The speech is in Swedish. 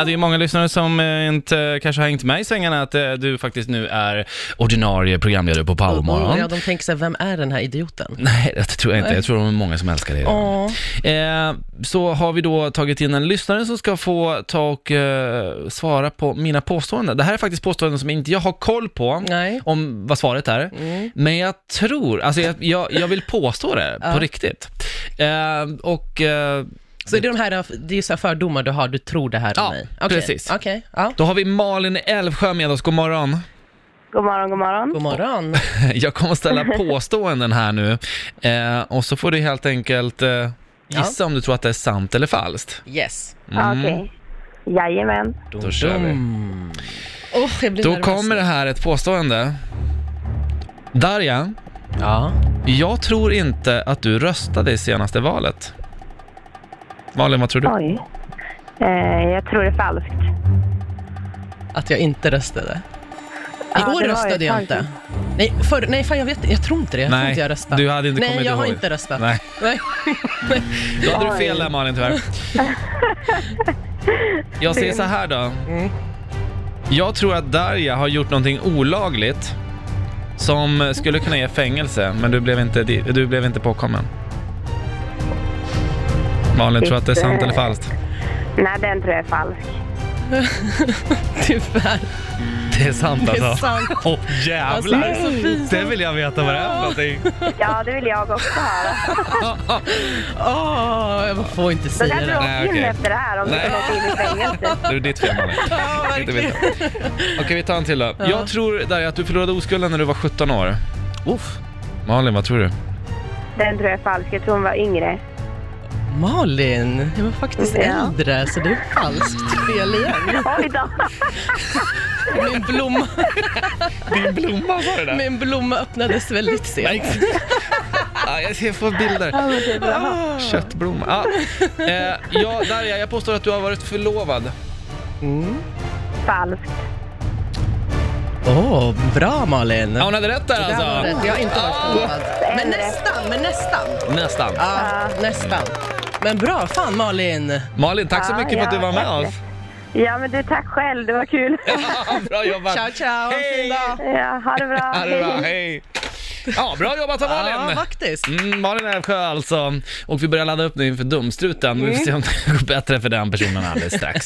Ja, Det är många lyssnare som eh, inte kanske har hängt med i svängarna att eh, du faktiskt nu är ordinarie programledare på Powermorgon. Ja, de tänker så här, vem är den här idioten? Mm. Nej, det tror jag inte. Jag tror de är många som älskar dig. Ja. Eh, så har vi då tagit in en lyssnare som ska få ta och eh, svara på mina påståenden. Det här är faktiskt påståenden som inte jag har koll på, Nej. om vad svaret är. Mm. Men jag tror, alltså jag, jag, jag vill påstå det Ja. på riktigt. Eh, och eh, Så är det de här, det är så här fördomar du har, du tror det här Ja, om mig? precis. Okej, ja. då har vi Malin i Älvsjö med oss, god morgon. God morgon, god morgon. God morgon. Jag kommer att ställa påståenden här nu eh, och så får du helt enkelt eh, gissa om du tror att det är sant eller falskt. Yes. Mm, Okej. Jajamän. Då kör vi. Mm. Åh, jag blir Då nervös. kommer det här ett påstående. Darja, Ja. jag tror inte att du röstade i senaste valet. Malin, vad tror du? Oj. Eh, jag tror det är falskt. Att jag inte röstade. Ja, Igår det var röstade ju jag tanken. inte. Nej, för, nej, fan jag vet Jag tror inte det. Jag tror inte jag röstade. du hade inte nej, kommit jag ihåg. har inte röstat. Nej, Nej. då hade du Oj. fel där Malin tyvärr. Jag säger så här då. Mm. Jag tror att Darja har gjort någonting olagligt som skulle kunna ge fängelse, men du blev inte, di- du blev inte påkommen. Malin, tror du att det är sant eller falskt? Nej, den tror jag är falsk. Tyvärr. Det är sant Det alltså. är sant. Åh Alltså, det jävlar! är så fint. Det vill jag veta vad det är för någonting. Ja, det vill jag också höra. Åh, jag får inte Då säga kanske Nej, det. du åker in okej. efter det här om du Nej. ska åka in i fängelse. Det är ditt fel Malin. Ja, Inte verkligen. vet jag. Okej, vi tar en till då. Jag tror där att du förlorade oskulden när du var 17 år. Uff. Malin, vad tror du? Den tror jag är falsk. Jag tror hon var yngre. Malin, jag var faktiskt Ja. äldre så det är falskt fel igen. Oj då. Min blomma, Din blomma sa det där. min blomma öppnades väldigt sent. Ah, jag ser få bilder. Köttblomma. Ah. Eh, ja, Darja, jag påstår att du har varit förlovad. Mm. Falskt. Åh, bra Malin! Ja, hon hade rätt där Där var alltså. det. Jag har inte varit förlovad. Men nästan, men nästan. Nästan. Ja, nästan. Men bra, fan Malin! Malin, tack så Ah, mycket för att du ja, var med tack. oss. Ja, men du, tack själv. Det var kul. Bra jobbat. Ciao, ciao! Hej! Fin dag! Ja, ha det bra. Ha det bra, hej. Ja, bra jobbat av Ja, Malin. faktiskt. Mm, Malin Älvsjö alltså. Och vi börjar ladda upp nu inför Dumstruten. Vi får se om det går bättre för den personen alldeles strax.